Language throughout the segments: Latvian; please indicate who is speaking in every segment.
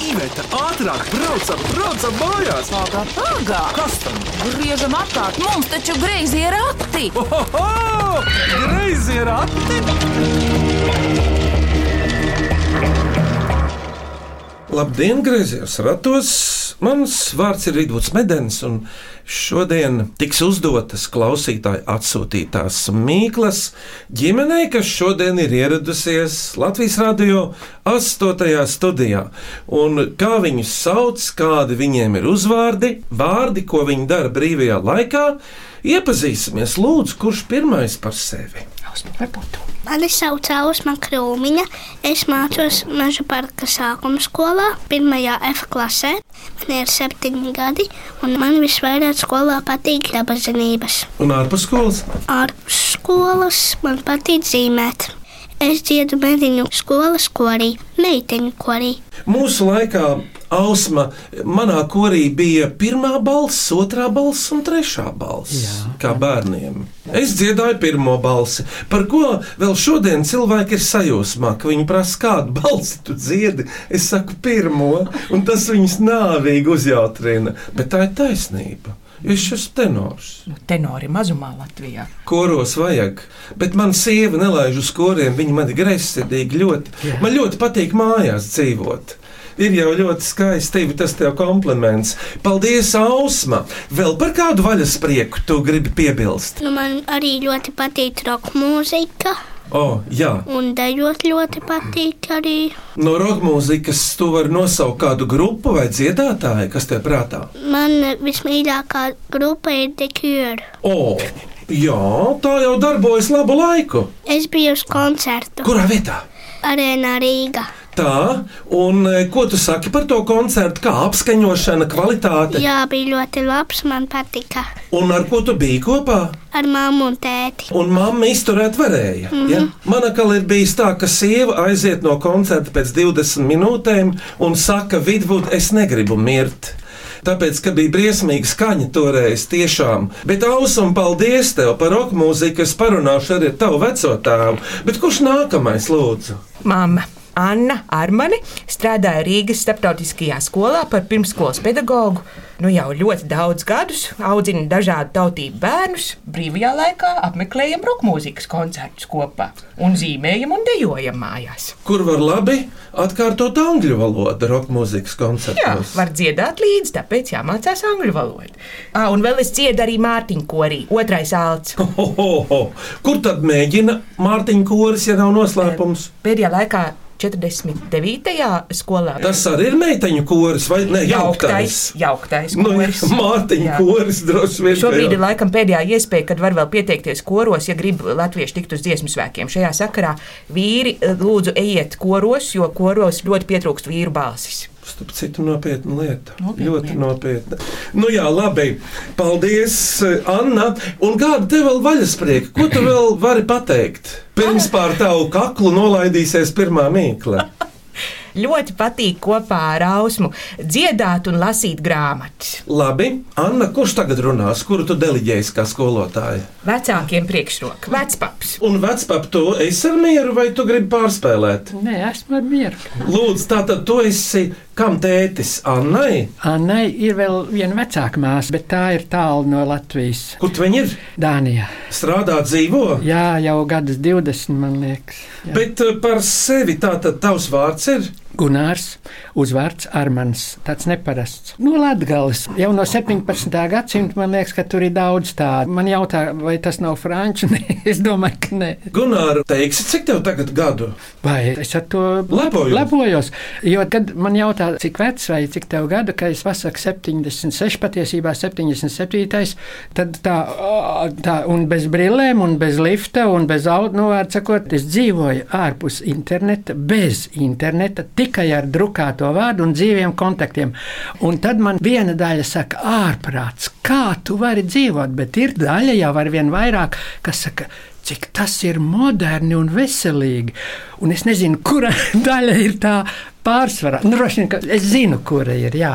Speaker 1: Iveta, ātrāk, braucam, braucam mājās!
Speaker 2: Pagā, pagā!
Speaker 1: Kas tam?
Speaker 2: Griežam apkārt, mums taču greizi ir akti!
Speaker 1: Ohoho! Greizi ir ati!
Speaker 3: Labdien, griezies ratos! Mans vārds ir Rītvuds Medens, un šodien tiks uzdotas klausītāju atsūtītās mīklas ģimenei, kas šodien ir ieradusies Latvijas radio 8. studijā. Un kā viņus sauc, kādi viņiem ir uzvārdi, vārdi, ko viņi dara brīvajā laikā, iepazīsimies. Lūdzu, kurš pirmais par sevi?
Speaker 4: Mani sauc Ausma Krūmiņa. Es mācos Meža parka sākuma skolā, 1. F klasē. Man ir septiņi gadi, un man visvairāk skolā patīk dabas zinības.
Speaker 3: Un ārpus skolas?
Speaker 4: Ārpus skolas man patīk zīmēt. Es dziedu mediņu skolas korī, meiteņu korī.
Speaker 3: Mūsu laikā Ausma manā korī bija pirmā balss, otrā balss un trešā balss. Jā. Kā bērniem. Es dziedāju pirmo balsi. Par ko vēl šodien cilvēki ir sajūsmā, ka viņi prasa, kādu balsi tu dziedi. Es saku, pirmo, un tas viņus nāvīgi uzjautrina. Bet tā ir taisnība. jo Es esmu tenors.
Speaker 5: Nu, tenori mazumā Latvijā.
Speaker 3: Koros vajag, bet man sieva nelaiž uz koriem. Viņa man ir greizsirdīga ļoti. Jā. Man ļoti patīk mājās dzīvot. Ir jau ļoti skaisti, tevi tas tev kompliments. Paldies, Ausma! Vēl par kādu vaļasprieku tu gribi piebilst?
Speaker 4: Nu, man arī ļoti patīk roka mūzika,
Speaker 3: O, oh, jā,
Speaker 4: un dejot ļoti patīk arī.
Speaker 3: no roka mūzikas tu vari nosaukt kādu grupu vai dziedātāju, kas tev prātā.
Speaker 4: Man vismīļākā grupa ir Dekjūra.
Speaker 3: O, oh, jā, tā jau darbojas labu laiku.
Speaker 4: Es biju uz koncertu
Speaker 3: Kurā vietā?
Speaker 4: Arēnā Rīgā.
Speaker 3: Tā, un e, ko tu saki par to koncertu, kā apskaņošana, kvalitāte?
Speaker 4: Jā, bija ļoti labs, man patika.
Speaker 3: Un ar ko tu biji kopā?
Speaker 4: Ar mammu un tēti.
Speaker 3: Un mamma izturēt varēja. Mm
Speaker 5: Mhm.
Speaker 3: -hmm. ja? Manā skatījumā ir bijis tā, ka sieva aiziet no koncerta pēc 20 minūtēm un saka, vidvud, es negribu mirt. Tāpēc, ka bija briesmīga skaņa toreiz, tiešām. Bet, Ausum, paldies tev par roka mūziku. Es parunāšu arī ar tavu veco tēvu. Bet kurš nākamais, lūdzu?
Speaker 5: Māma Anna Armani strādāja Rīgas starptautiskajā skolā par pirmskolas pedagogu. Nu jau ļoti daudz gadus audzina dažādu tautību bērnus. Brīvajā laikā apmeklējam rokmūzikas koncertus kopā un zīmējam un dejojam mājās.
Speaker 3: Kur var labi atkārtot angļu valodu roka mūzikas
Speaker 5: Jā,
Speaker 3: koncertos?
Speaker 5: var dziedāt līdzi, tāpēc jāmācās angļu valodu. À, un vēl es dziedu arī Mārtiņu korī, otrais alts.
Speaker 3: Ho, ho, ho. Kur tad mēģina Mārtiņa koris, ja nav noslēpums?
Speaker 5: Pēdējā laikā 49. skolā
Speaker 3: Tas arī ir meiteņu koris vai ne? Jauktais.
Speaker 5: jauktais
Speaker 3: Nu,
Speaker 5: koris.
Speaker 3: Mārtiņa
Speaker 5: Jā.
Speaker 3: koris droši vien. ka
Speaker 5: Šobrīd
Speaker 3: jā.
Speaker 5: ir laikam pēdējā iespēja, kad var vēl pieteikties koros, ja grib latvieši tikt uz dziesmu svēkiem. Šajā sakarā vīri eh, lūdzu ejiet koros, jo koros ļoti pietrūkst vīru balsis.
Speaker 3: Starp citu, nopietna lieta.
Speaker 5: Nopietna
Speaker 3: Nopietna ļoti
Speaker 5: lieta.
Speaker 3: lieta. nopietna. Nu, jā, labi. Paldies, Anna. Un kāda tev vēl vaļasprieka? Ko tu vēl vari pateikt? Pirms pār tavu kaklu nolaidīsies pirmā mīkla.
Speaker 5: Ļoti patīk kopā ar Ausmu dziedāt un lasīt grāmatas.
Speaker 3: Labi, Anna, kurš tagad runās? Kuru tu deliģējies kā skolotāja?
Speaker 5: Vecākiem priekšroka, vecpaps.
Speaker 3: Un vecpap, tu esi ar mieru vai tu gribi pārspēlēt?
Speaker 6: Nē, esmu ar mieru.
Speaker 3: Lūdzu, tātad tu esi kam tētis? Annai?
Speaker 6: Annai ir vēl viena vecāka māsa, bet tā ir tālu no Latvijas.
Speaker 3: Kur tu viņi ir?
Speaker 6: Dānijā.
Speaker 3: Strādā, dzīvo?
Speaker 6: Jā, jau gadus 20, man liekas. Jā.
Speaker 3: Bet eh, par sevi tātad tavs vārds ir?
Speaker 6: Gunārs, uzvārds Armāns, tāds neparasts. No Latvijas jau no 17. gadsimta man liekas, ka tur ir daudz tādu. Man jautā, vai tas nav franču? Nē, es domāju, ka nē.
Speaker 3: Gunār, teiksi, cik tev tagad gadu?
Speaker 6: Vai es ar to
Speaker 3: Lepojos.
Speaker 6: lepojos? Jo, kad man jautā, cik vecs vai cik tev gadu, ka es pasaku 76, patiesībā 77, tad tā, ā, tā un bez brillēm, un bez lifta, un bez audnovārds, sakot, es dzīvoju ārpus interneta, bez interneta, tikai ar drukāto vārdu un dzīviem kontaktiem. Un tad man viena daļa saka, ārprāts, kā tu vari dzīvot, bet ir daļa jau ar vien vairāk, kas saka, cik tas ir moderni un veselīgi. Un es nezinu, kura daļa ir tā pārsvarā. Nu, droši vien, ka es zinu, kura ir, jā,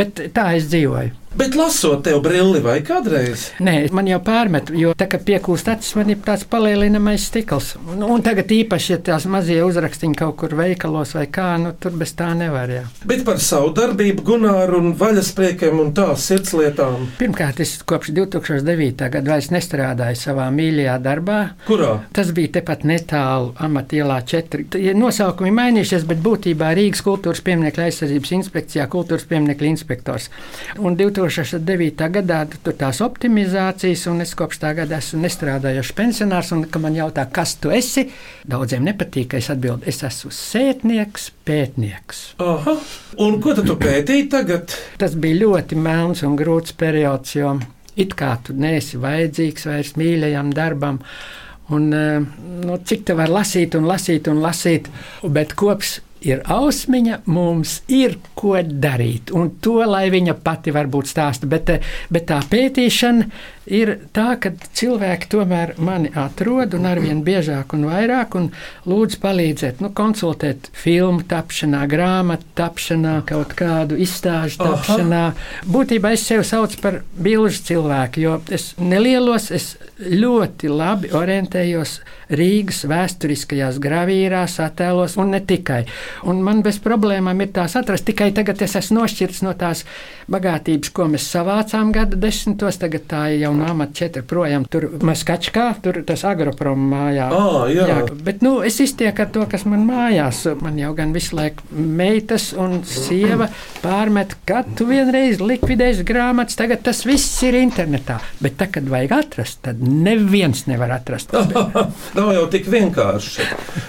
Speaker 6: bet tā es dzīvoju.
Speaker 3: Bet lasot tev brilli vai kādreiz?
Speaker 6: Nē, man jau pārmet, jo tā kā piekūst acis, man ir tāds palielinamais stikls. Un, un tagad īpaši, ja tās mazie uzrakstiņi kaut kur veikalos vai kā, nu tur bez tā nevar. Jā.
Speaker 3: Bet par savu darbību, Gunāru un vaļaspriekiem un tā sirdslietām.
Speaker 6: Pirmkārt, es kopš 2009. gada vairs nestrādāju savā mīļajā darbā.
Speaker 3: Kurā?
Speaker 6: Tas bija tepat netālu amatielā 4. Tie Nosaukumi mainījušies, bet būtībā Rīgas kultūras pieminiektu aizsardzības inspekcijā kultūras pieminiektu inspektors. Un 2009. gadā tur tās optimizācijas, un es kopš tā gada esmu nestrādājuši pensionārs, un kad man jautā, kas tu esi, daudziem nepatīk, ka es atbildu, es esmu sētnieks, pētnieks.
Speaker 3: Aha. Un ko tad tu pētīji tagad?
Speaker 6: Tas bija ļoti melns un grūts periods, jo it kā tu neesi vajadzīgs vairs mīļajam darbam. Un, eh, nu, cik tā var lasīt, un lasīt, un lasīt, bet kopš ir ausmiņa, mums ir ko darīt. Un to lai viņa pati varbūt stāsta. Bet, eh, bet tā pētīšana ir tā, ka cilvēki tomēr mani atrod un arvien biežāk un vairāk un lūdz palīdzēt, nu, konsultēt filmu tapšanā, grāmatu tapšanā, kaut kādu izstāžu
Speaker 3: Aha.
Speaker 6: tapšanā. Nā, būtībā es sevi saucu par bilžu cilvēku, jo es nelielos, es ļoti labi orientējos Rīgas vēsturiskajās gravīrās, attēlos un ne tikai. Un man bez problēmām ir tās atrast, tikai tagad es esmu nošķirts no tās bagātības, ko mēs savācām gada desmitos, tagad tā ir jau nāmat četri projām, tur maskačkā, tur tas agroprom mājā.
Speaker 3: Ā, jā.
Speaker 6: bet nu, es iztieku ar to, kas man mājās, man jau gan visu laiku meitas un sieva pārmet, ka tu vienreiz likvidēsi grāmatas, tagad tas viss ir internetā. Bet tā, kad vajag atrast, tad neviens nevar atrast.
Speaker 3: Nav jau tik vienkārši.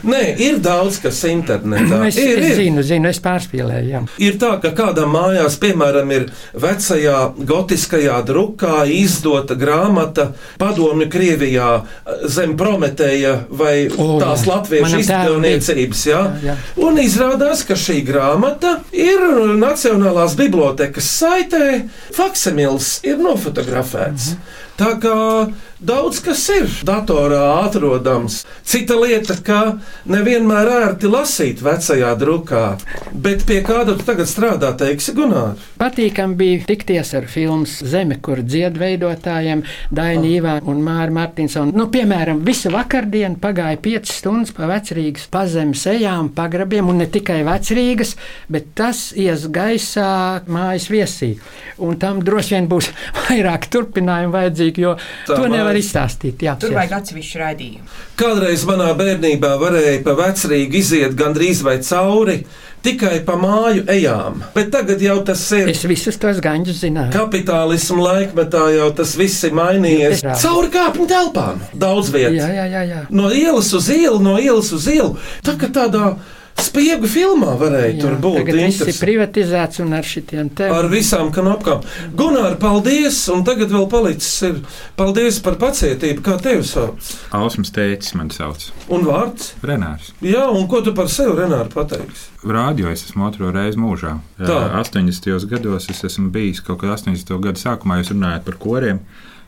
Speaker 3: Nē, ir daudz kas internetā.
Speaker 6: Nu, Es,
Speaker 3: ir,
Speaker 6: es
Speaker 3: ir.
Speaker 6: zinu, zinu, es pārspīlēju. Jā.
Speaker 3: Ir tā, ka kādā mājās, piemēram, ir vecajā gotiskajā drukā izdota grāmata Padomju Krievijā zem Prometēja vai
Speaker 6: O,
Speaker 3: oh, tās
Speaker 6: jā.
Speaker 3: latviešu
Speaker 6: Manam tēvam bija.
Speaker 3: izdevniecības. Ja?
Speaker 6: Jā, jā.
Speaker 3: Un izrādās, ka šī grāmata ir Nacionālās bibliotekas saitē. Faksimils ir nofotografēts.
Speaker 6: Mhm.
Speaker 3: Mm -hmm. Tā kā daudz kas ir datorā atrodams. Cita lieta, ka nevienmēr ērti lasīt vecajā drukā, bet pie kāda tu tagad strādā, teiksi, Gunār?
Speaker 6: Patīkami bija tikties ar filmas Zeme, kur dziedveidotājiem Dainu Ivānu un Māru Martinsonu. Nu, piemēram, visu vakardienu pagāja 5 stundas pa vecrīgas pazemes ejām, pagrabiem, un ne tikai vecrīgas, bet tas ies gaisā mājas viesī. Un tam droši vien būs vairāk turpinājumu vajadzīgi, jo
Speaker 3: Tā
Speaker 6: Tā to nevar
Speaker 3: mājas-
Speaker 6: izstāstīt. Jā,
Speaker 5: Tur
Speaker 6: jā.
Speaker 5: vajag atsevišķu raidījumu.
Speaker 3: Kādreiz manā bērnībā varēja pa vecrīgu iziet gandrīz vai cauri tikai pa māju ejām, bet tagad jau tas ir.
Speaker 6: Es visus tos gaņus zināju.
Speaker 3: Kapitālismu laikmetā jau tas viss ir mainījies.
Speaker 6: Jā.
Speaker 3: Caur kāpņu telpām daudz vietas.
Speaker 6: Jā, jā, jā, jā.
Speaker 3: No ielas uz ielu, no ielas uz ielu. Tā kā tādā spiegu filmā varēja
Speaker 6: Jā,
Speaker 3: jā, tur būt.
Speaker 6: tagad viss ir
Speaker 3: Interesi-
Speaker 6: privatizēts un ar šitiem te.
Speaker 3: Ar visām kanāpām. Gunār, paldies! Un tagad vēl palicis ir. Paldies par pacietību, kā tevi sauc.
Speaker 7: Ausmas teicis, man sauc
Speaker 3: Un vārds.
Speaker 7: Renārs.
Speaker 3: Jā, un ko tu par sevi, Renāri, pateiksi?
Speaker 7: Rādio es esmu otro reizi mūžā.
Speaker 3: Tā.
Speaker 7: Eh, 80. gados es esmu bijis kaut kad 80. gada sākumā, jūs runājat par koriem.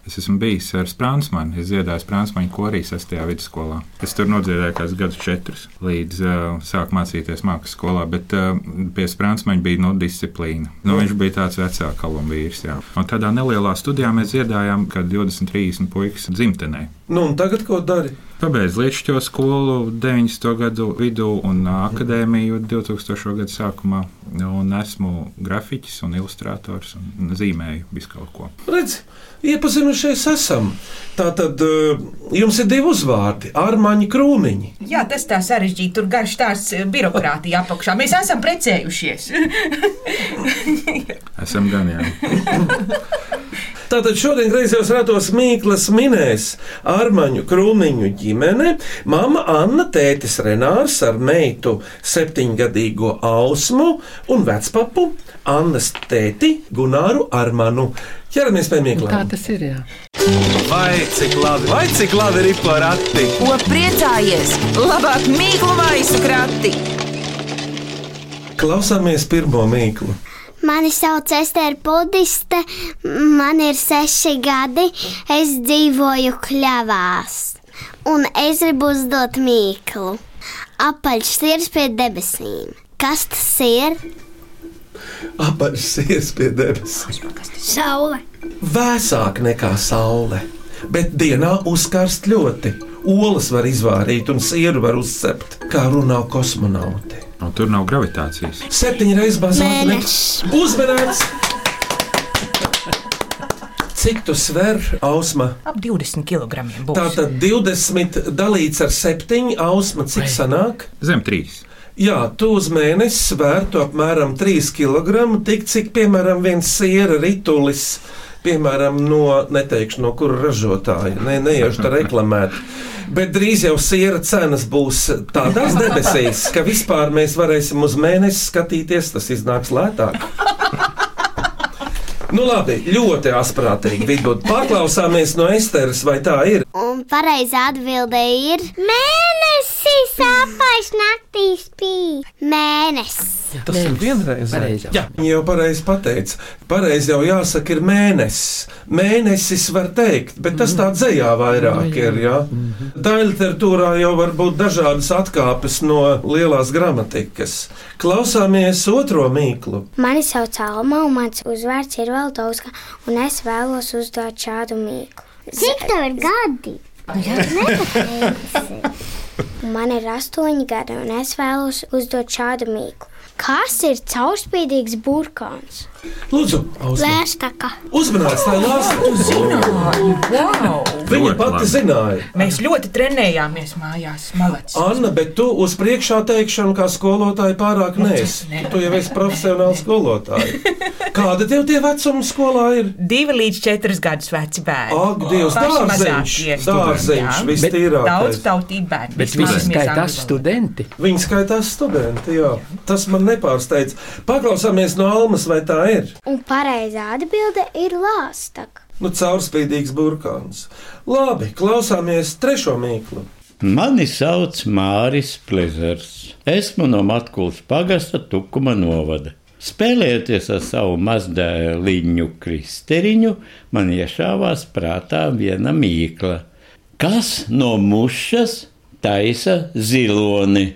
Speaker 7: Es esmu bijis ar Sprānsmanu. Es dziedāju Sprānsmanu korī 6. vidusskolā. Es tur nodziedāju kaut kādus gadus četrus, līdz uh, sāku mācīties mākslas skolā. Bet uh, pie Sprānsmaņa bija no disciplīna. Nu, viņš bija tāds vecāks kalambīrs. jā. Un tādā nelielā studijā mēs dziedājām, kad 20-30 puikas dzimtenē.
Speaker 3: Nu, un tagad ko dari?
Speaker 7: Pabeidz Lietuvas skolu 90. gadu vidū un ā, akadēmiju 2000. gada sākumā. Un esmu grafiķis un ilustrators un zīmēju visu kaut ko.
Speaker 3: Redzi, iepazinušies esam. Tā tad jums ir divi uzvārdi - Armaņa Krūmiņa.
Speaker 5: Jā, tas tā sarežģīti. Tur garš tās birokrātija apakšā. Mēs esam precējušies.
Speaker 7: Esam gan jau.
Speaker 3: Tātad šodien griezos ratos Mīklas minēs Armaņu Krūmiņu ģimene, mama Anna, tētis Renārs ar meitu septiņgadīgo Ausmu un vecpapu Annas tēti Gunāru Armanu. Ķeramies pie
Speaker 6: Tā
Speaker 3: Mīklām.
Speaker 6: tas ir, jā.
Speaker 1: Vai cik labi, vai cik labi ir porakti?
Speaker 2: Ko priecājies?
Speaker 5: Labāk mīklu maisu krati.
Speaker 3: Klausāmies pirmo mīklu.
Speaker 8: Mani sauc Estere Pudiste, man ir seši gadi. Es dzīvoju kļavās. un es gribu uzdot mīklu. Apaļšķirs pie debesīm. Kas tas ir?
Speaker 3: Apaļsies pie debesīm.
Speaker 4: Saule.
Speaker 3: Vēsāk nekā saule, bet dienā uzkarst ļoti. Olas var izvārīt un sieru var uzcept, kā runā kosmonauti.
Speaker 7: Un tur nav gravitācijas.
Speaker 3: Septiņas reizes bazāra.
Speaker 4: Mēnesis.
Speaker 3: Uzmanīgs! Cik tu sver, Ausma?
Speaker 5: Ap 20 kg.
Speaker 3: Tā tad 20 dalīts ar 7, Ausma, cik sanāk?
Speaker 7: Zem trīs.
Speaker 3: Jā, tu uz mēnesi svērtu apmēram 3 kg, tik cik, piemēram, viens siera ritulis. Piemēram, no neteikšu, no kura ražotāja. Ne, neiešu to reklamēt. Bet drīz jau siera cenas būs tādās debesīs, ka vispār mēs varēsim uz mēnesi skatīties. Tas iznāks lētāk. Nu, labi, ļoti asprātīgi. Vidbud. Paklausāmies no Esteras, vai tā ir?
Speaker 8: Un pareizā atbildē ir Mēnesis apaļš naktī spīd. Mēnesis.
Speaker 3: Tas ir vienreiz.
Speaker 6: Pareizi jau.
Speaker 3: Jā, viņa jau pareizi pateica. Pareizi jau jāsaka, ir mēnesis. Mēnesis var teikt, bet tas tā dzējā vairāk ir. Mhm. Nu, Jā. Mhm. Tā literatūrā jau var būt dažādas atkāpes no lielās gramatikas. Klausāmies otro mīklu.
Speaker 8: Mani sauc Alma, un mans uzvārds ir Valdovska, un es vēlos uzdot šādu mīklu. Cik tev ir gadi? Man ir astoņi gadi, un es vēlos uzdot šādu mīklu. Kas ir caurspīdīgs burkāns?
Speaker 3: Lūdzu, Ausma.
Speaker 4: Lēstaka.
Speaker 3: uzmanīgs, lai lāsas.
Speaker 5: Wow!
Speaker 3: Viņa
Speaker 7: Ļoti labi.
Speaker 3: pati zināja.
Speaker 5: Mēs ļoti trenējāmies mājās. Malacis.
Speaker 3: Anna, bet tu uz priekšā teikšanu kā skolotāja pārāk neesi.
Speaker 5: nē.
Speaker 3: Nu, Tu jau esi profesionāls skolotājs. Kāda tev tie vecuma skolā ir?
Speaker 5: Divi līdz četrus gadus veci bērni.
Speaker 3: Ak, Dievs,
Speaker 5: Paši
Speaker 3: dārzeņš,
Speaker 5: mazākie.
Speaker 3: dārzeņš,
Speaker 5: Jā.
Speaker 3: viss
Speaker 6: Bet
Speaker 3: tīrākais.
Speaker 5: Daudz tautību bērnu.
Speaker 6: Bet visi skaitās studenti.
Speaker 3: Viņi skaitās studenti, jā. Tas man nepārsteidz. Paklausāmies no Almas, vai tā ir?
Speaker 8: Un pareizā atbilde ir lāstaka.
Speaker 3: Nu, caurspīdīgs burkāns. Labi, klausāmies trešo mīklu.
Speaker 9: Mani sauc Māris Plezers. Esmu no Matkulas pagasta Tukuma novada. Spēlējoties ar savu mazdēliņu kristeriņu, man iešāvās prātā viena mīkla. Kas no mušas taisa ziloni?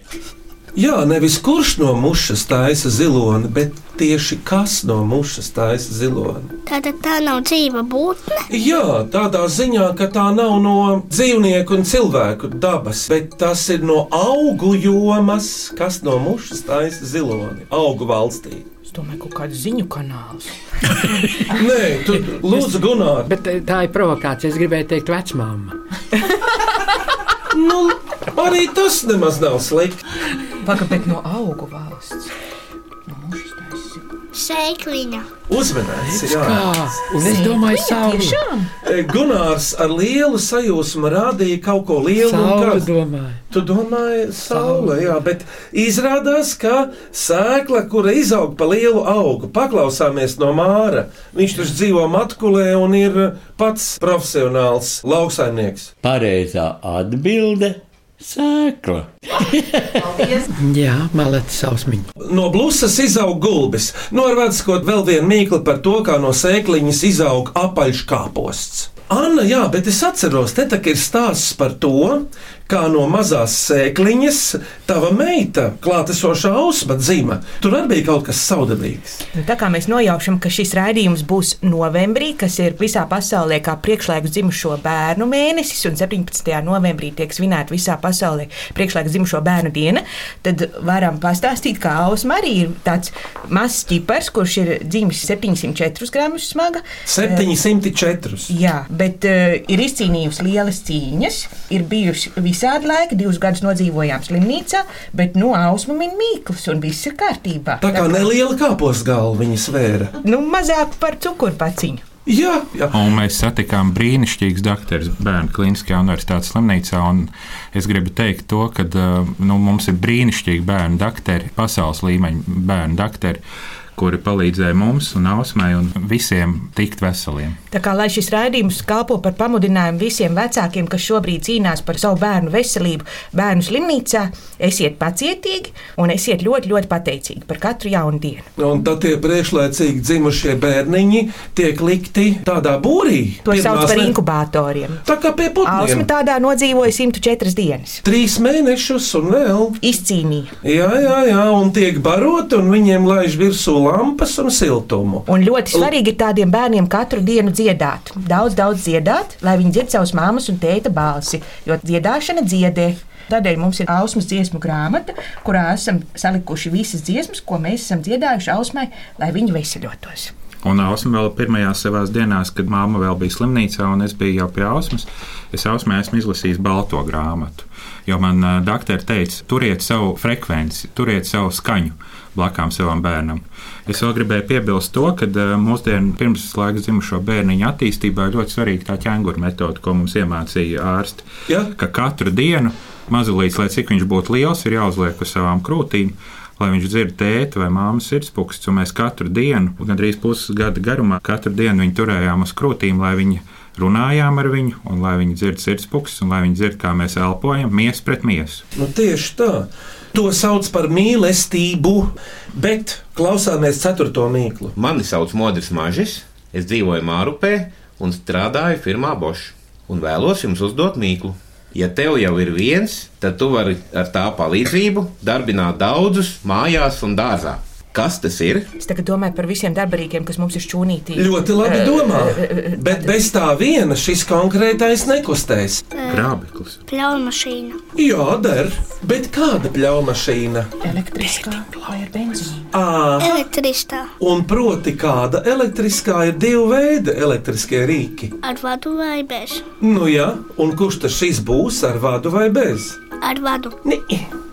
Speaker 3: Jā, nevis kurš no mušas taisa ziloni, bet tieši kas no mušas taisa ziloni.
Speaker 4: Tātad tā nav dzīva būtne.
Speaker 3: Jā, tādā ziņā, ka tā nav no dzīvnieku un cilvēku dabas, bet tas ir no augu jomas, kas no mušas taisa ziloni augu valstī.
Speaker 5: Es domāju, kaut kādu ziņu kanālu.
Speaker 3: Nē, tu lūdzu, Gunār,
Speaker 6: Bet eh, tā ir provokācija. Es gribēju teikt, vecmāmiņa.
Speaker 3: nu, arī tas nemaz nav slikti.
Speaker 5: Pagaid, bet no augu valsts. No mušas taisa.
Speaker 4: Sēkliņa.
Speaker 3: Uzmanīgs, jā.
Speaker 6: Kā? Un es domāju, saule.
Speaker 5: Tiešām?
Speaker 3: E, Gunārs ar lielu sajūsmu rādīja kaut ko lielu. un
Speaker 6: Saule
Speaker 3: karstu.
Speaker 6: domāju.
Speaker 3: Tu domāji, saule, jā, bet izrādās, ka sēkla, kura izaug pa lielu augu, paklausāmies no māra. Viņš taču dzīvo matkulē un ir pats profesionāls lauksaimnieks.
Speaker 9: Pareizā atbilde - sēkla.
Speaker 6: Jā, malets sausmiņa.
Speaker 3: No blūzas izaug gulbis. Norvēdzot vēl vienu mīklu par to, kā no sēkliņas izaug apaļškāposts. Anna, jā, bet es atceros, te tā ir stāsts par to, kā no mazās sēkliņas tava meita, klātesošā ausma dzīva. Tur arī bija kaut kas saudabīgs.
Speaker 5: Nu, tā kā mēs nojaušam, ka šis raidījums būs novembrī, kas ir visā pasaulē kā priekšlaikus dzimušo bērnu mēnesis, un 17. novembrī tiek svinēta visā pasaulē priekšlaikus dzimušo bērnu diena, tad varam pastāstīt, kā Ausma arī ir tāds mazs ķipars, kurš ir dzimis 704 gramus smaga.
Speaker 3: 704.
Speaker 5: Jā, bet uh, ir izcīnījusi lielas cīņas, ir bijusi visādi laiki, divus gadus nodzīvojām slimnīcā, bet no ausmu min mīklas un viss ir kārtībā.
Speaker 3: Tā kā neliela kāpos galva viņa svēra.
Speaker 5: Nu, mazāk par cukurpaciņu.
Speaker 3: Jā, jā.
Speaker 7: Un mēs satikām brīnišķīgus doktorus bērnu klīniskajā universitātes slimnīcā. un Es gribu teikt, to, ka nu, mums ir brīnišķīgi bērnu doktori, pasaules līmeņa bērnu doktori, kuri palīdzēja mums un ausmai un visiem tikt veseliem.
Speaker 5: Tā kā lai šis raidījums kalpo par pamudinājumu visiem vecākiem, kas šobrīd cīnās par savu bērnu veselību, bērnu slimnīcā, esiet pacietīgi un esiet ļoti, ļoti pateicīgi par katru jaunu dienu.
Speaker 3: Un tad tie priekšlaicīgi dzimušie bērniņi tiek likti tādā būrī.
Speaker 5: To sauc
Speaker 3: Pirmās
Speaker 5: par
Speaker 3: ne-
Speaker 5: inkubatoriem.
Speaker 3: Tā kā pie
Speaker 5: Alsma
Speaker 3: putniem.
Speaker 5: tādā nodzīvoja 104 dienas.
Speaker 3: Trīs mēnešus un vēl.
Speaker 5: Izcīnīja.
Speaker 3: Jā, jā, jā, un tiek baroti, un viņiem laiž virsū lampas un siltumu.
Speaker 5: Un ļoti svarīgi ir tādiem bērniem katru dienu dziedāt. Daudz, daudz dziedāt, lai viņi dzird savus māmas un tēta balsi, jo dziedāšana dziedē. Tādēļ mums ir ausmas dziesmu grāmata, kurā esam salikuši visas dziesmas, ko mēs esam dziedājuši ausmai, lai viņi veseļotos.
Speaker 7: Un Ausma vēl pirmajās savās dienās, kad māma vēl bija slimnīcā un es biju jau pie Ausmas, es Ausmai esmu izlasījis balto grāmatu. Jo man uh, doktori teica, turiet savu frekvenci, turiet savu skaņu blakām savam bērnam. Es vēl gribēju piebilst to, ka uh, mūsdienu pirms laika zimušo bērniņu attīstībā ir ļoti svarīga tā ķēngura metode, ko mums iemācīja ārsti.
Speaker 3: Jā.
Speaker 7: Ka katru dienu mazulīts, lai cik viņš būtu liels, ir jāuzliek uz savām krūtīm. Lai viņš dzird tēti vai māmas sirdspūkstus, un mēs katru dienu, gandrīz pusgada garumā, katru dienu viņu turējām uz krūtīm, lai viņi runājām ar viņu, un lai viņi dzird sirdspūkstus, un lai viņi dzird, kā mēs elpojam, mies pret miesu.
Speaker 3: Nu, tieši tā. To sauc par mīlestību, bet klausāmies ceturto mīklu.
Speaker 10: Mani sauc Modris Mažis, es dzīvoju Mārupē un strādāju firmā Bosch. Un vēlos jums uzdot mīklu. Ja tev jau ir viens, tad tu vari ar tā palīdzību darbināt daudzus mājās un dārzā. Kas tas ir?
Speaker 5: Es tagad domāju par visiem darbarīkiem, kas mums ir šūnītī.
Speaker 3: Ļoti labi
Speaker 5: Eh,
Speaker 3: domā,
Speaker 5: eh, eh,
Speaker 3: bet bez tā viena šis konkrētais nekustēs.
Speaker 7: Grābeklis.
Speaker 4: Pļauju mašīna.
Speaker 3: Jā, der, bet kāda pļaumašīna?
Speaker 5: Elektriskā vai ar benzīnu?
Speaker 3: À,
Speaker 4: Elektriskā
Speaker 3: un proti, kāda elektriskā ir divi veidi elektriskie rīki.
Speaker 4: ar vadu vai bez?
Speaker 3: Nu jā, un kurš tas šis būs ar vādu vai bez?
Speaker 4: Ar vadu.
Speaker 3: Nē,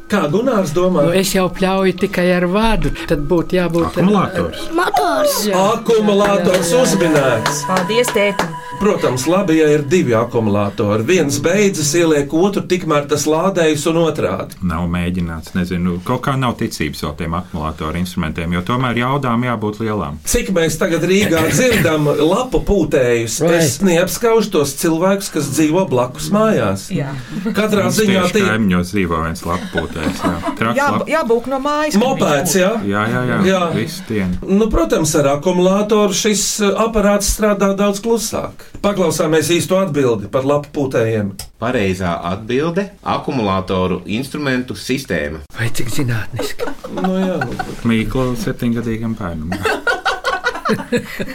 Speaker 3: kā Gunārs domā?
Speaker 6: Nu, es jau pļauju tikai ar vādu. Tad būtu jābūt
Speaker 7: Akumulators.
Speaker 4: Motors.
Speaker 6: Jā,
Speaker 3: Akumulators
Speaker 6: jā, jā, jā.
Speaker 3: uzminēts.
Speaker 5: Paldies, tēti!
Speaker 3: Protams, labi, ja ir divi akumulatori. Viens beidzas, ieliek otru, tikmēr tas lādējas un otrādi.
Speaker 7: Nav mēģināts, nezinu, kaut kā nav ticības vēl tiem akumulātoru instrumentiem, jo tomēr jaudām jābūt lielām.
Speaker 3: Cik mēs tagad Rīgā dzirdam lapu pūtējus,
Speaker 6: Vai.
Speaker 3: es neapskaužu tos cilvēkus, kas dzīvo blakus mājās.
Speaker 5: Jā,
Speaker 3: Katrā
Speaker 7: Mums
Speaker 3: ziņā
Speaker 7: tieši
Speaker 3: tie ir
Speaker 7: kaimiņos dzīvo viens lapotājs. Jā, Traks
Speaker 5: jā,
Speaker 7: lap-
Speaker 5: jā būk no mājas. kad
Speaker 3: mopēds, jā?
Speaker 7: jā, jā, jā, jā.
Speaker 3: Jā.
Speaker 7: viss tiem.
Speaker 3: Nu, protams, ar akumulātoru šis uh, aparāts strādā daudz klusāk. Paklausāmies īsto atbildi par lapu pūtējiem.
Speaker 10: Pareizā atbilde - akumulātoru instrumentu sistēma.
Speaker 6: Vai cik zinātniski?
Speaker 3: Nu, jā, nu,
Speaker 7: Mīklu septiņgadīgam bērnam.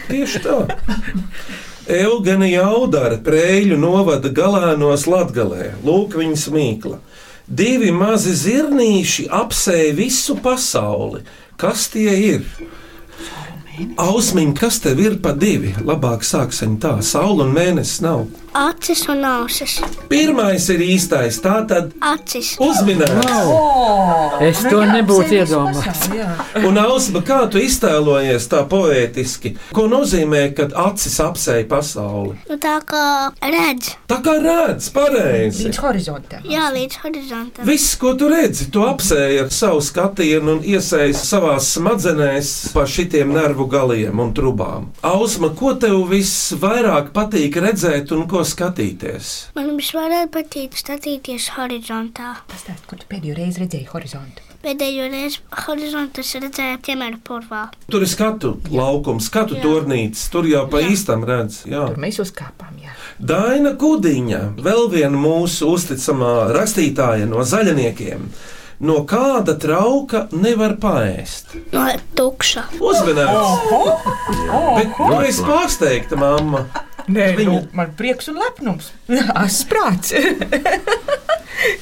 Speaker 3: tieši tā. Eugenija Jaudara prēļu novada galēnos Latgalē. Lūk viņas mīkla. Divi mazi zirnīši apsēja visu pasauli. Kas tie ir? Ausmiņ, kas tev ir pa divi? Labāk sāksim tā. Saula un mēnesis nav.
Speaker 4: Acis un ausis.
Speaker 3: Pirmais ir īstais. Tā tad
Speaker 4: Acis.
Speaker 3: uzminēts.
Speaker 6: Es to nebūtu iedomājies.
Speaker 3: Un, Ausma, kā tu iztēlojies tā poētiski? Ko nozīmē, kad acis apsēja pasauli?
Speaker 4: Nu, tā kā redz.
Speaker 3: Tā kā redz, pareizi.
Speaker 5: Līdz horizontam.
Speaker 4: Jā, līdz horizontam.
Speaker 3: Viss, ko tu redzi, tu apsēji ar savu skatienu un iesēji savā smadzenēs pa šitiem nervu galiem un trubām. Ausma, ko tev visvairāk patīk redzēt un ko skatīties?
Speaker 4: Man visvairāk patīk skatīties horizontā.
Speaker 5: Pastāst, kur tu pēdējo reizi redzēji horizontu?
Speaker 4: Pēdējo reizi horizontu es redzēju piemēra purvā.
Speaker 3: Tur ir skatu laukums, skatu
Speaker 4: Jā.
Speaker 3: turnīts, tur jau pa īstam redz. Jā.
Speaker 5: Tur mēs uzkāpām. Jā.
Speaker 3: Daina Kudiņa, vēl viena mūsu uzticamā rakstītāja no zaļniekiem. No kāda trauka nevar paēst?
Speaker 4: No tukša.
Speaker 3: Uzmanīgs! Bet tu esi pārsteigta, mamma.
Speaker 5: Nē,
Speaker 3: Viņa-
Speaker 5: nu, man prieks un lepnums. Asprāts.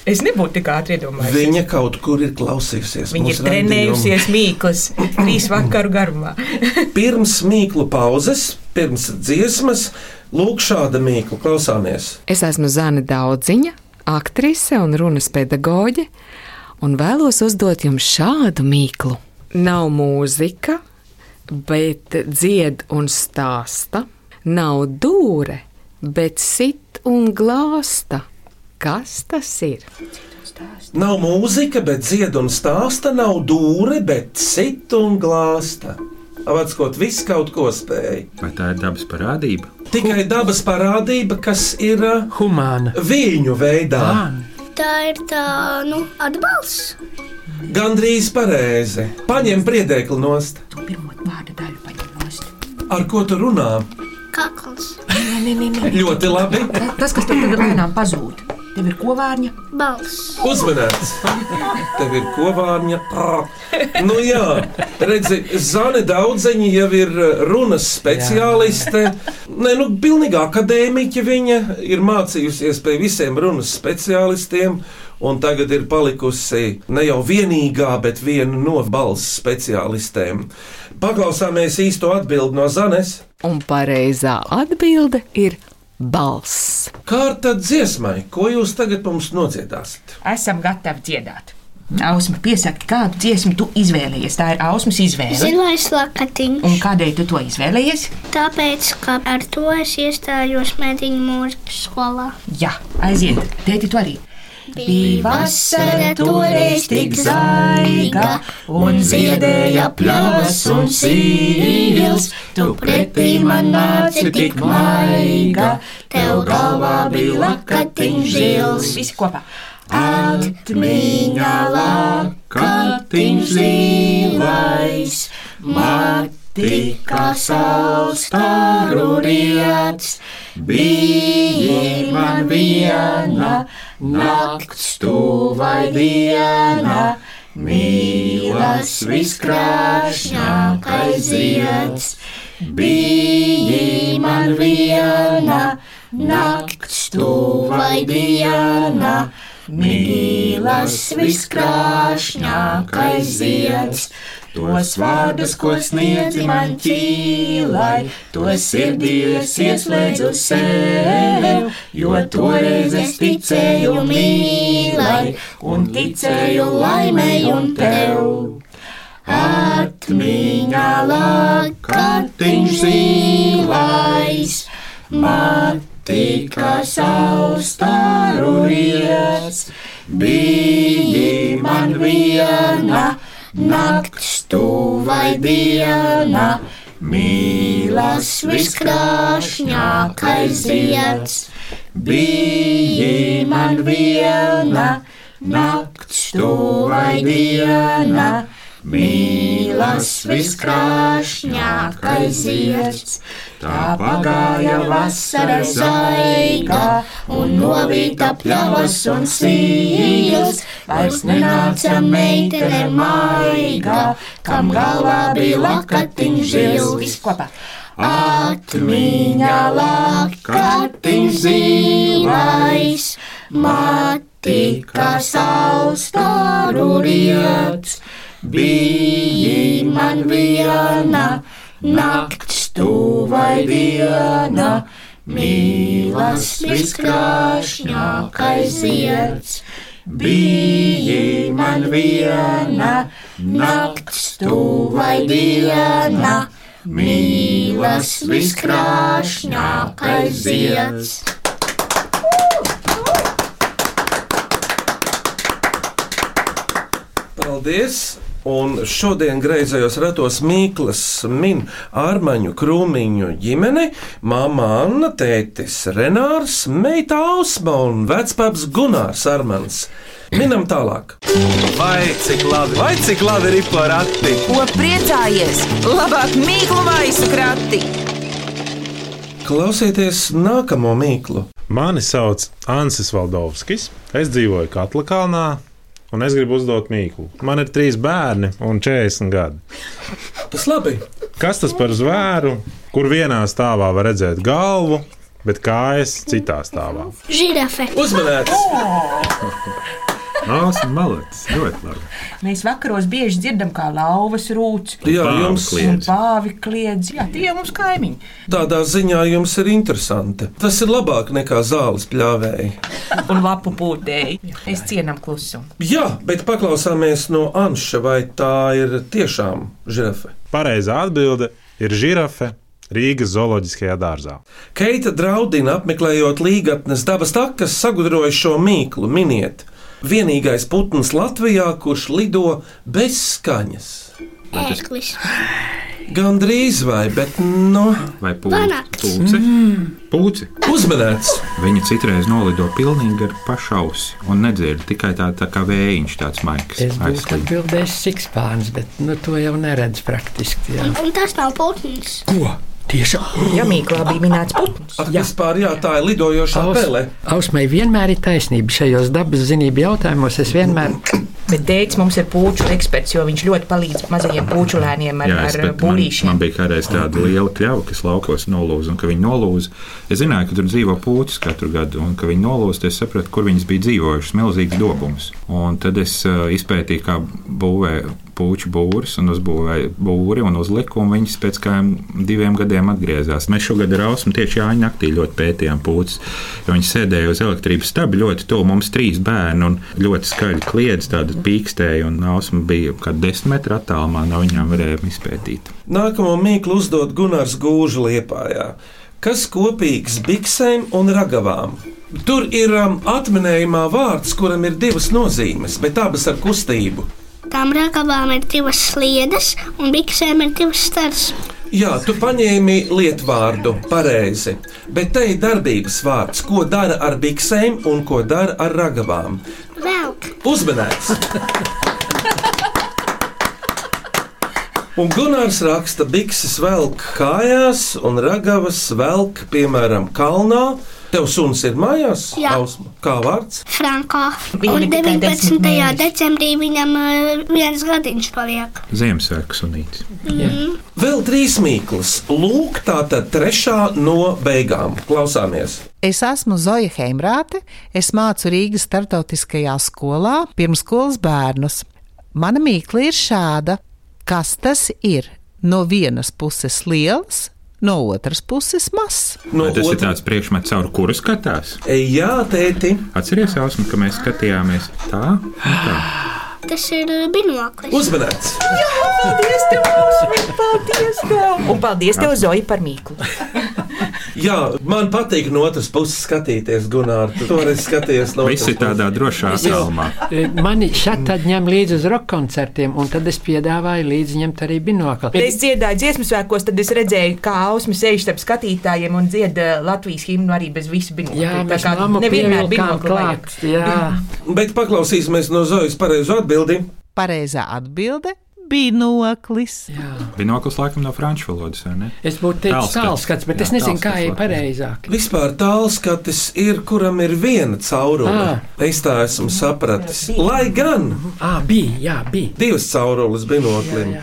Speaker 5: es nebūtu tik ātri iedomājies.
Speaker 3: Viņa kaut kur ir klausījusies.
Speaker 5: Viņa ir
Speaker 3: mūsu raidījumu.
Speaker 5: trenējusies mīklas trīs vakaru garumā.
Speaker 3: Pirms mīklu pauzes, pirms dziesmas, lūk, šāda mīklu klausāmies.
Speaker 11: Es esmu Zana Daudziņa, aktrise un runas pedagoģe, un vēlos uzdot jums šādu mīklu. Nav mūzika, bet dzied un stāsta, nav dūre, bet sit un glāsta. Kas tas ir?
Speaker 3: Nav mūzika, bet dzied un stāsta, nav dūre, bet sit un glāsta. Avatskot, viss kaut ko spēja.
Speaker 7: Vai tā ir dabas parādība?
Speaker 3: Tikai dabas parādība, kas ir uh,
Speaker 6: humāna.
Speaker 3: Viņu veidā.
Speaker 6: Ah.
Speaker 4: Tā ir tā, nu, atbalsts.
Speaker 3: Gan drīz pareizi. Paņem priedēkli nost. Ar ko tu runā?
Speaker 4: Kakls,
Speaker 3: Ļoti labi.
Speaker 5: Tas, kas tev tagad lēnām pazūd, tev ir kovārņa.
Speaker 4: balss.
Speaker 3: Uzmanīts. Tev ir kovārņa. Ah. Nu jā, redzi, Zane daudzeņi jau ir uh, runas speciāliste. Nē, nu, pilnīgi akadēmiķi viņa ir mācījusies pie visiem runas speciālistiem. Un tagad ir palikusi ne jau vienīgā, bet viena no balss speciālistēm. Paklausāmies īsto atbildi no Zanes.
Speaker 11: Un pareizā atbilde ir balss.
Speaker 3: Kārta dziesmai, ko jūs tagad mums nodziedāsiet?
Speaker 5: Esam gatavi dziedāt. Ausma piesaka, kādu dziesmu tu izvēlējies. Tā ir ausmas izvēle.
Speaker 4: Zilais lakatiņš.
Speaker 5: Un kādēļ tu to izvēlējies?
Speaker 4: Tāpēc, ka ar to es iestājos mediņu mūzikas skolā.
Speaker 5: Jā, aiziet, tēti, tu arī.
Speaker 4: Bija
Speaker 5: vasara,
Speaker 4: toreiz tik zaiga,
Speaker 5: un
Speaker 4: ziedēja pļavas un sīļus.
Speaker 5: Tu
Speaker 4: pretī man nāci tik maiga, tev galvā bija lakatiņš zils.
Speaker 5: Visi kopā.
Speaker 4: Atmiņā lakatiņš zilais, mati kā saulstāru riets, bija man viena, nakts tuvai diena, mīlas viskrāšņākais zieds, bija man viena, nakts tuvai diena. Mīlas viskrāšņākais zieds, tos vārdus, ko sniedzi man ķīlai, tos sirdies ieslēdzu sev, jo toreiz es ticēju mīlai un ticēju laimei un tev. Atmiņā lakatiņš zilais, matika saustāru riets, bija man viena. Nakts tuvai diena, mīlas viskrāšņākais zieds. Bija man viena, nakts tuvai diena, mīlas viskrāšņākais zieds. Tā pagāja vasara zaiga, un novīta pļavas un sīļus. Vairs nenāca meitene maiga, kam galvā bija lakatiņš zils.
Speaker 5: Visi kopā.
Speaker 4: Atmiņā lakatiņš zilais, matika saustāru riets. Bija man viena, nakts tuvai diena, mīlas viskrāšņākais zieds. Bija man viena, nakts tuvai diena, mīlas viskrāšņākais zieds.
Speaker 3: Paldies! Un šodien greizējos ratos Mīklas min Armaņu Krūmiņu ģimeni, māma Anna, tētis Renārs, meita Ausma un vecpaps Gunārs Armans. Minam tālāk.
Speaker 1: Vai cik labi, vai cik labi ir porakti?
Speaker 2: Ko priecājies? Labāk mīklu maisu krati!
Speaker 3: Klausieties nākamo mīklu.
Speaker 12: Mani sauc Ansis Valdovskis. Es dzīvoju Katla kalnā. Un es gribu uzdot mīklu. Man ir trīs bērni un 40 gadi.
Speaker 3: Tas labi.
Speaker 12: Kas tas par zvēru, kur vienā stāvā var redzēt galvu, bet kājas citā stāvā?
Speaker 4: Žirafe.
Speaker 3: Uzmanēts!
Speaker 7: Mākslinieks malets. Ļoti labi.
Speaker 5: Mēs vakaros bieži dzirdam, kā lauvas rūc.
Speaker 3: Jā,
Speaker 7: Pāvi
Speaker 3: jums
Speaker 5: Un
Speaker 7: kliedz.
Speaker 5: pāvi kliedz, jā, tie ir mums kaimiņi.
Speaker 3: tādā ziņā jums ir interesanti. Tas ir labāk nekā zāles pļāvēji.
Speaker 5: Un lapu būdēji. Es cienam klusumu.
Speaker 3: Jā, bet paklausāmies no Anša, vai tā ir tiešām žirafe.
Speaker 12: Pareizā atbilde ir žirafe Rīgas zooloģiskajā dārzā.
Speaker 3: Keita draudina apmeklējot līgatnes dabas takas, sagudroja šo mīklu miniet. Vienīgais putns Latvijā, kurš lido bez skaņas.
Speaker 4: Ērklis.
Speaker 3: Gan drīz vai, bet nu.
Speaker 7: Vai
Speaker 4: Panāks.
Speaker 7: pūci?
Speaker 6: Mm.
Speaker 7: Pūci.
Speaker 3: Uzmanīts!
Speaker 7: Viņa citreiz nolido pilnīgi ar pašu ausi un nedzird tikai tā, tā kā vējiņš tāds maigs.
Speaker 6: Es būtu atbildējis sikspāns, bet nu, to jau neredz praktiski. Jā.
Speaker 4: Un, un tas nav putns.
Speaker 6: Ko? Tiešām?
Speaker 5: Jā, Mīklā bija minēts putns.
Speaker 3: Jā, vispār, jā tā ir lidojoša pele.
Speaker 6: Ausmai vienmēr ir taisnība šajos dabas zinību jautājumos. Es vienmēr
Speaker 5: Bet Dēļs mums ir puču eksperts, jo viņš ļoti palīdz mazajiem pučulēniem ar,
Speaker 7: Jā, es,
Speaker 5: ar
Speaker 7: bet man,
Speaker 5: būrīšiem.
Speaker 7: man bija kādreiz tāda liela kļava, kas laukos nolūza, un ka viņi nolūza. Es zināju, ka tur dzīvo pūcis katru gadu, un ka viņi nolūza, tad es sapratu, kur viņas bija dzīvojušas. Milzīgs dobums. Un tad es uh, izpētīju, kā būvē puču būrus, un uzbūvēju būri, un uzliku, un viņas pēc kādiem diviem gadiem atgriezās. Mēs šogad ar Ausmu tieši Jāņa naktī ļoti pētījām pūcis, jo viņi sēdēja uz elektrības stūra ļoti tuvu mums trīs bērnu, un ļoti skaļi kliedz, tāda pīkstēja, un Ausma bija kaut kāda desmit metru attālumā no viņām varējām izpētīt.
Speaker 3: Nākamo mīklu uzdod Gunārs Gūža liepājā. Kas kopīgs biksēm un ragavām? Tur ir um, atminējumā vārds, kuram ir divas nozīmes, bet abas ar kustību.
Speaker 4: Tām ragavām ir divas sliedes, un biksēm ir divas stars.
Speaker 3: Jā, tu paņēmi lietu vārdu pareizi, bet te ir darbības vārds, ko dara ar biksēm un ko dara ar ragavām.
Speaker 4: Velk!
Speaker 3: Uzmanīts! Un Gunārs raksta, ka bikses velk kājās un ragavas velk, piemēram, kalnā. Tev suns ir mājās?
Speaker 4: Jā.
Speaker 3: Ausma? Kā vārds?
Speaker 4: Franko.
Speaker 5: Viņam
Speaker 4: Un
Speaker 5: ir tikai
Speaker 4: 19.
Speaker 5: desmit mēneši.
Speaker 4: decembrī viņam eh, viens gadiņš paliek.
Speaker 7: Ziemassvētku sunītis.
Speaker 3: Vēl trīs mīklas. Lūk, tā tad trešā no beigām. Klausāmies!
Speaker 13: Es esmu Zoja Heimrāte. Es mācu Rīgas starptautiskajā skolā pirmskolas bērnus. Mana mīkla ir šāda. Kas tas ir? No vienas puses liels, no otras puses mazs.
Speaker 7: No tas ir tāds priekšmets, caur kuru skatās.
Speaker 3: Jā, tēti.
Speaker 7: Atcerieties, Ausma, ka mēs skatījāmies tā.
Speaker 4: Tas ir eh, binoklis.
Speaker 3: Uzmanīts!
Speaker 5: Paldies, tev, Ausmi! Paldies, tev! Un paldies, tev, Zoja, par mīklu.
Speaker 3: Jā, man patīk no otras puses skatīties, Gunār. Tu toreiz skaties no
Speaker 7: Visi tādā drošā salmā.
Speaker 6: e, mani šādi ņem līdzi uz roka koncertiem, un tad es piedāvāju līdzi ņemt arī
Speaker 5: Kad es
Speaker 6: binokli.
Speaker 5: dziedāju dziesmu svētkos, tad es redzēju, kā Ausma sēž starp skatītājiem un dziedā Latvijas himnu arī bez visu binokļu.
Speaker 6: Jā,
Speaker 5: Tā
Speaker 6: mēs
Speaker 5: kā
Speaker 6: mammu
Speaker 5: nevienmēr
Speaker 6: pievilkām
Speaker 5: binokli vajag. Mm.
Speaker 6: klāt. Jā.
Speaker 3: Bet paklausīsimies no Zojas pareizo atbildību.
Speaker 13: Pareizā atbilde - binoklis.
Speaker 7: Binoklis laikam no franču valodas, vai ne?
Speaker 6: Es būtu teicis tālskats, bet
Speaker 7: Jā,
Speaker 6: es nezinu, kā
Speaker 7: tālskats
Speaker 6: ir
Speaker 7: laikam.
Speaker 6: pareizāk.
Speaker 3: Vispār tālskatis ir, kuram ir viena caurule.
Speaker 6: Ā.
Speaker 3: Es tā esmu sapratis. Lai gan
Speaker 6: Ā, bija, jā, bija.
Speaker 3: divas caurules binoklim.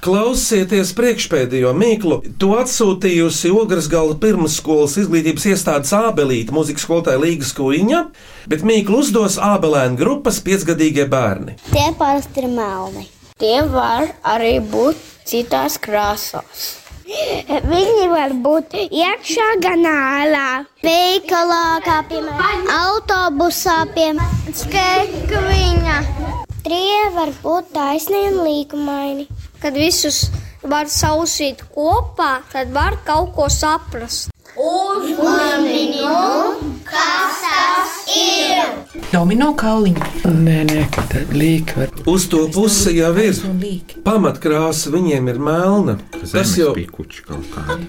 Speaker 3: Klausieties priekšpēdējo mīklu. Tu atsūtījusi Ogres gala pirmsskolas izglītības iestādes ābelīti mūzikas skolotāja Līgas Kuiņa, bet mīklu uzdos ābelēna grupas piecgadīgie bērni.
Speaker 8: Tie parasti ir melni. Tie var arī būt citās krāsās.
Speaker 4: Viņi var būt iekšā, gan ārā. Veikalā, kā piemēram, autobusā, piemēram, skekviņa.
Speaker 8: Tie var būt taisni un līkumaini.
Speaker 4: Kad visus var sausīt kopā, tad var kaut ko saprast.
Speaker 5: Domino kauliņi.
Speaker 6: Nē, nē, ka tā līka var.
Speaker 3: Uz to pusi jau ir pamatkrāsa, viņiem ir melna. Tas
Speaker 7: Zemes
Speaker 3: jau
Speaker 7: bija kuķis kaut kāda.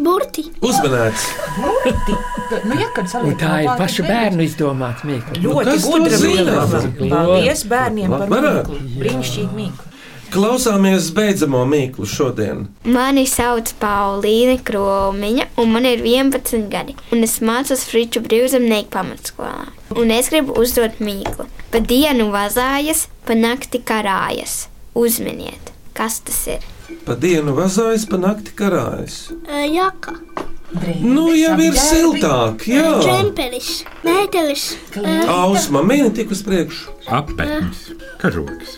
Speaker 4: Burti.
Speaker 3: uzmanēts.
Speaker 5: Nu, jā, kad
Speaker 6: Un
Speaker 5: saliekam
Speaker 6: tā ir
Speaker 5: kopā, tad
Speaker 6: pašu
Speaker 5: beigās.
Speaker 6: bērnu izdomāta mīkla.
Speaker 5: Ļoti
Speaker 3: Nu, kas to
Speaker 5: gudra
Speaker 3: zina?
Speaker 5: mīkla. Paldies bērniem par
Speaker 3: Varētu.
Speaker 5: mīklu. Brīnišķīgi mīklu.
Speaker 3: Klausāmies beidzamo mīklu šodien.
Speaker 14: Mani sauc Paulīna Kromiņa, un man ir 11 gadi. Un es mācos Friču brīvzemnieku pamatskolā. Un es gribu uzdot mīklu. Pa dienu vazājas, pa nakti karājas. Uzminiet, kas tas ir?
Speaker 3: Pa dienu vazājas, pa nakti karājas.
Speaker 4: Jaka.
Speaker 3: Nu, jau ir siltāk, jā.
Speaker 4: Čemperis. Mētelis.
Speaker 3: Ausma mini tik uz priekšu.
Speaker 7: Apmetnis, karoks.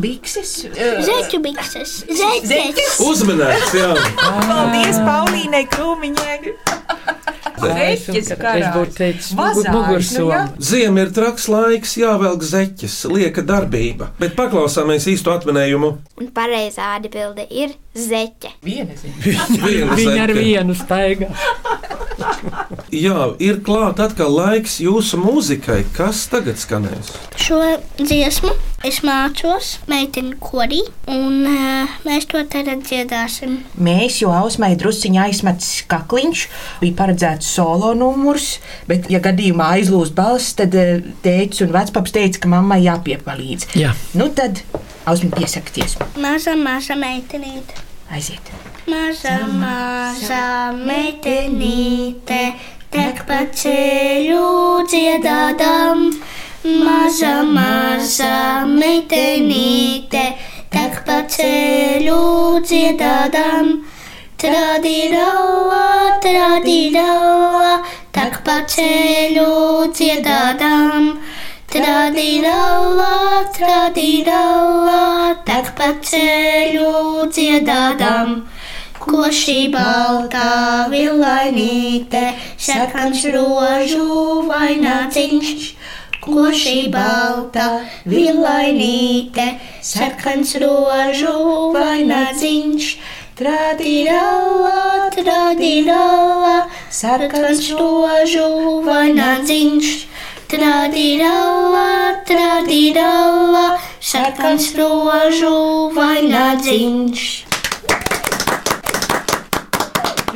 Speaker 5: Bikses. eh,
Speaker 4: Zeķu bikses. Zeķes.
Speaker 3: Uzmanēts, jā.
Speaker 5: Paldies Paulīnai Krūmiņai.
Speaker 6: Es
Speaker 5: Zeķes
Speaker 6: es būtu
Speaker 5: karājas.
Speaker 6: teicis,
Speaker 5: Vazājas, nu jā.
Speaker 6: mugursomu.
Speaker 3: Ziemē ir traks laiks, jāvelk zeķes, lieka darbība. Bet paklausāmies īsto atminējumu.
Speaker 14: Un pareizā atbilde ir zeķe.
Speaker 5: Viena zina.
Speaker 3: Viena
Speaker 6: Viņa ar
Speaker 3: zeķe.
Speaker 6: vienu staigā.
Speaker 3: Jā, ir klāts atkal laiks jūsu mūzikai. Kas tagad skanēs?
Speaker 4: Šo dziesmu es mācos meiteni korī, un eh, mēs to tagad dziedāsim.
Speaker 5: Mēs jau ausmai druskuļi aizmetis kakliņš, bija paredzēts solo numurs, bet, ja gadījumā aizlūst balss, tad teica, un vecpaps teica, ka mammai jāpiepalīdz.
Speaker 6: Jā.
Speaker 5: Nu tad ausmai piesakties.
Speaker 4: Maza, maza meitenīte.
Speaker 5: Aiziet!
Speaker 4: Maza, maza meitenīte, tek pa ceļu dziedādam. Maza, maza meitenīte, tek pa ceļu dziedādam. Tradirauā, tradirauā, tek pa ceļu dziedādam. Tradirauā, tradirauā, tek pa ceļu dziedādam. Ko šī balta vilainīte, sarkans rožu vaināciņš? Ko šī balta vilainīte, sarkans rožu vaināciņš? Tradirālā, tradirālā, sarkans rožu vaināciņš. Tradirālā, tradirālā, sarkans rožu vaināciņš.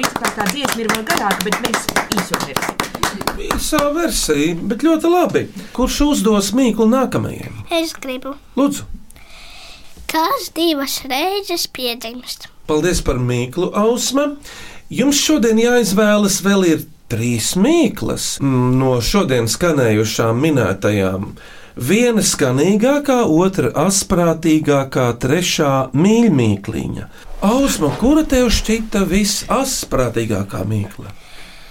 Speaker 5: Vispār tā dziesma ir vēl garāka, bet mēs īso versiju.
Speaker 3: Īsā versija, bet ļoti labi. Kurš uzdos mīklu nākamajam?
Speaker 4: Es gribu.
Speaker 3: Lūdzu,
Speaker 4: Kas divas reizes piedzimst?
Speaker 3: paldies par mīklu, Ausma. Jums šodien jāizvēlas vēl ir trīs mīklas mm, no šodien skanējušām minētajām. Viena skanīgākā, otra asprātīgākā, trešā mīļmīkliņa. Ausma, kura tev šķita visasprātīgākā mīkla?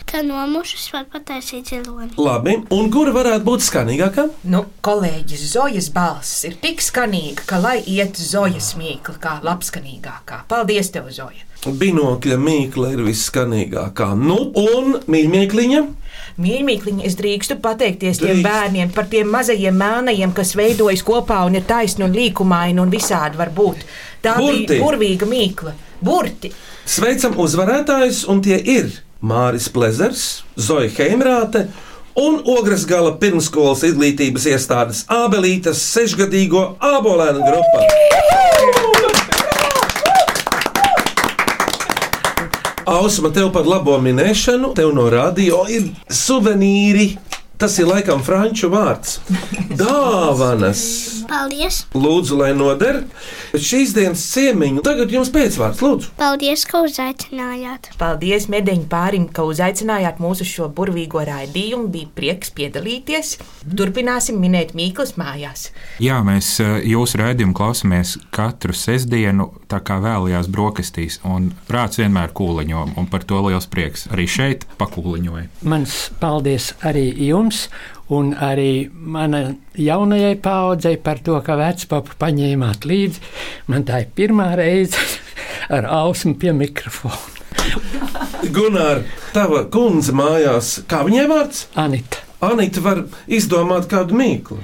Speaker 4: Ka no mušas var pataisīt ziloni.
Speaker 3: Labi, un kura varētu būt skanīgākā?
Speaker 5: Nu, kolēģis Zojas balss ir tik skanīga, ka lai iet Zojas mīkla kā labskanīgākā. Paldies, tev, Zoja!
Speaker 3: Binokļa mīkla ir visskanīgākā. Nu, un mīļmīkliņa?
Speaker 5: Mīļmīkliņa, es drīkstu pateikties tiem bērniem par tiem mazajiem mēnajiem, kas veidojas kopā un ir taisni un līkumaini un visādi var būt. Tā
Speaker 3: Burti.
Speaker 5: bija burvīga mīkla. Burti!
Speaker 3: Sveicam uzvarētājus, un tie ir Māris Plezers, Zoja Heimrāte un Ogres gala pirmskolas izglītības iestādes Ābelītes sešgadīgo abolēnu grupa. Ausma, tev par labo minēšanu, tev no radio ir suvenīri. Tas ir laikam franču vārds. Dāvanas!
Speaker 4: Paldies!
Speaker 3: Lūdzu, lai noder šīs dienas ciemiņu. Tagad jums pēcvārds, lūdzu.
Speaker 4: Paldies, ka uzaicinājāt!
Speaker 5: Paldies medeņu pārim, ka uzaicinājāt mūsu šo burvīgo raidījumu. Bija prieks piedalīties. Turpināsim minēt mīklas mājās.
Speaker 7: Jā, mēs eh, jūsu raidījumu klausāmies katru sestdienu, tā kā vēlējās brokastīs. Un prāts vienmēr kūliņo, un par to liels prieks. Arī šeit pakūliņoja.
Speaker 6: Mans paldies arī jums, un arī manai jaunajai paudzei par to, ka vecpapu paņēmāt līdzi. Man tā ir pirmā reize ar ausmu pie mikrofona.
Speaker 3: Gunār, tava kundze mājās, kā viņai vārds?
Speaker 6: Anita.
Speaker 3: Anita var izdomāt kādu mīklu.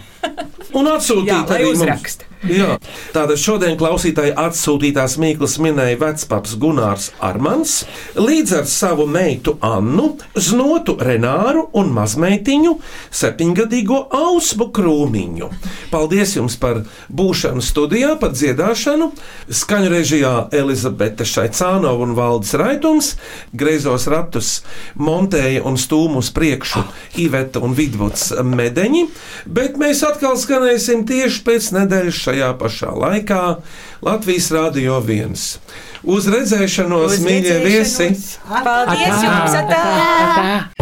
Speaker 3: Un atsūtīt
Speaker 5: Jā, lai
Speaker 3: arī mums.
Speaker 5: uzraksta.
Speaker 3: Jā. Tātad šodien klausītāji atsūtītās mīklas minēja vecpaps Gunārs Armans, līdz ar savu meitu Annu, znotu Renāru un mazmeitiņu, septiņgadīgo Ausmu Krūmiņu. Paldies jums par būšanu studijā, par dziedāšanu. Skaņu režijā Elizabete Šaicānova un Valdis Raitums, greizos ratus montēja un stūmus priekšu Iveta un Vidvuds Medeņi, bet mēs atkal skanēsim tieši pēc nedēļas šajā pašā laikā Latvijas Rādio 1. Uz redzēšanos, mīļie viesi!
Speaker 5: tá- Paldies jums! Atā!
Speaker 6: Atā!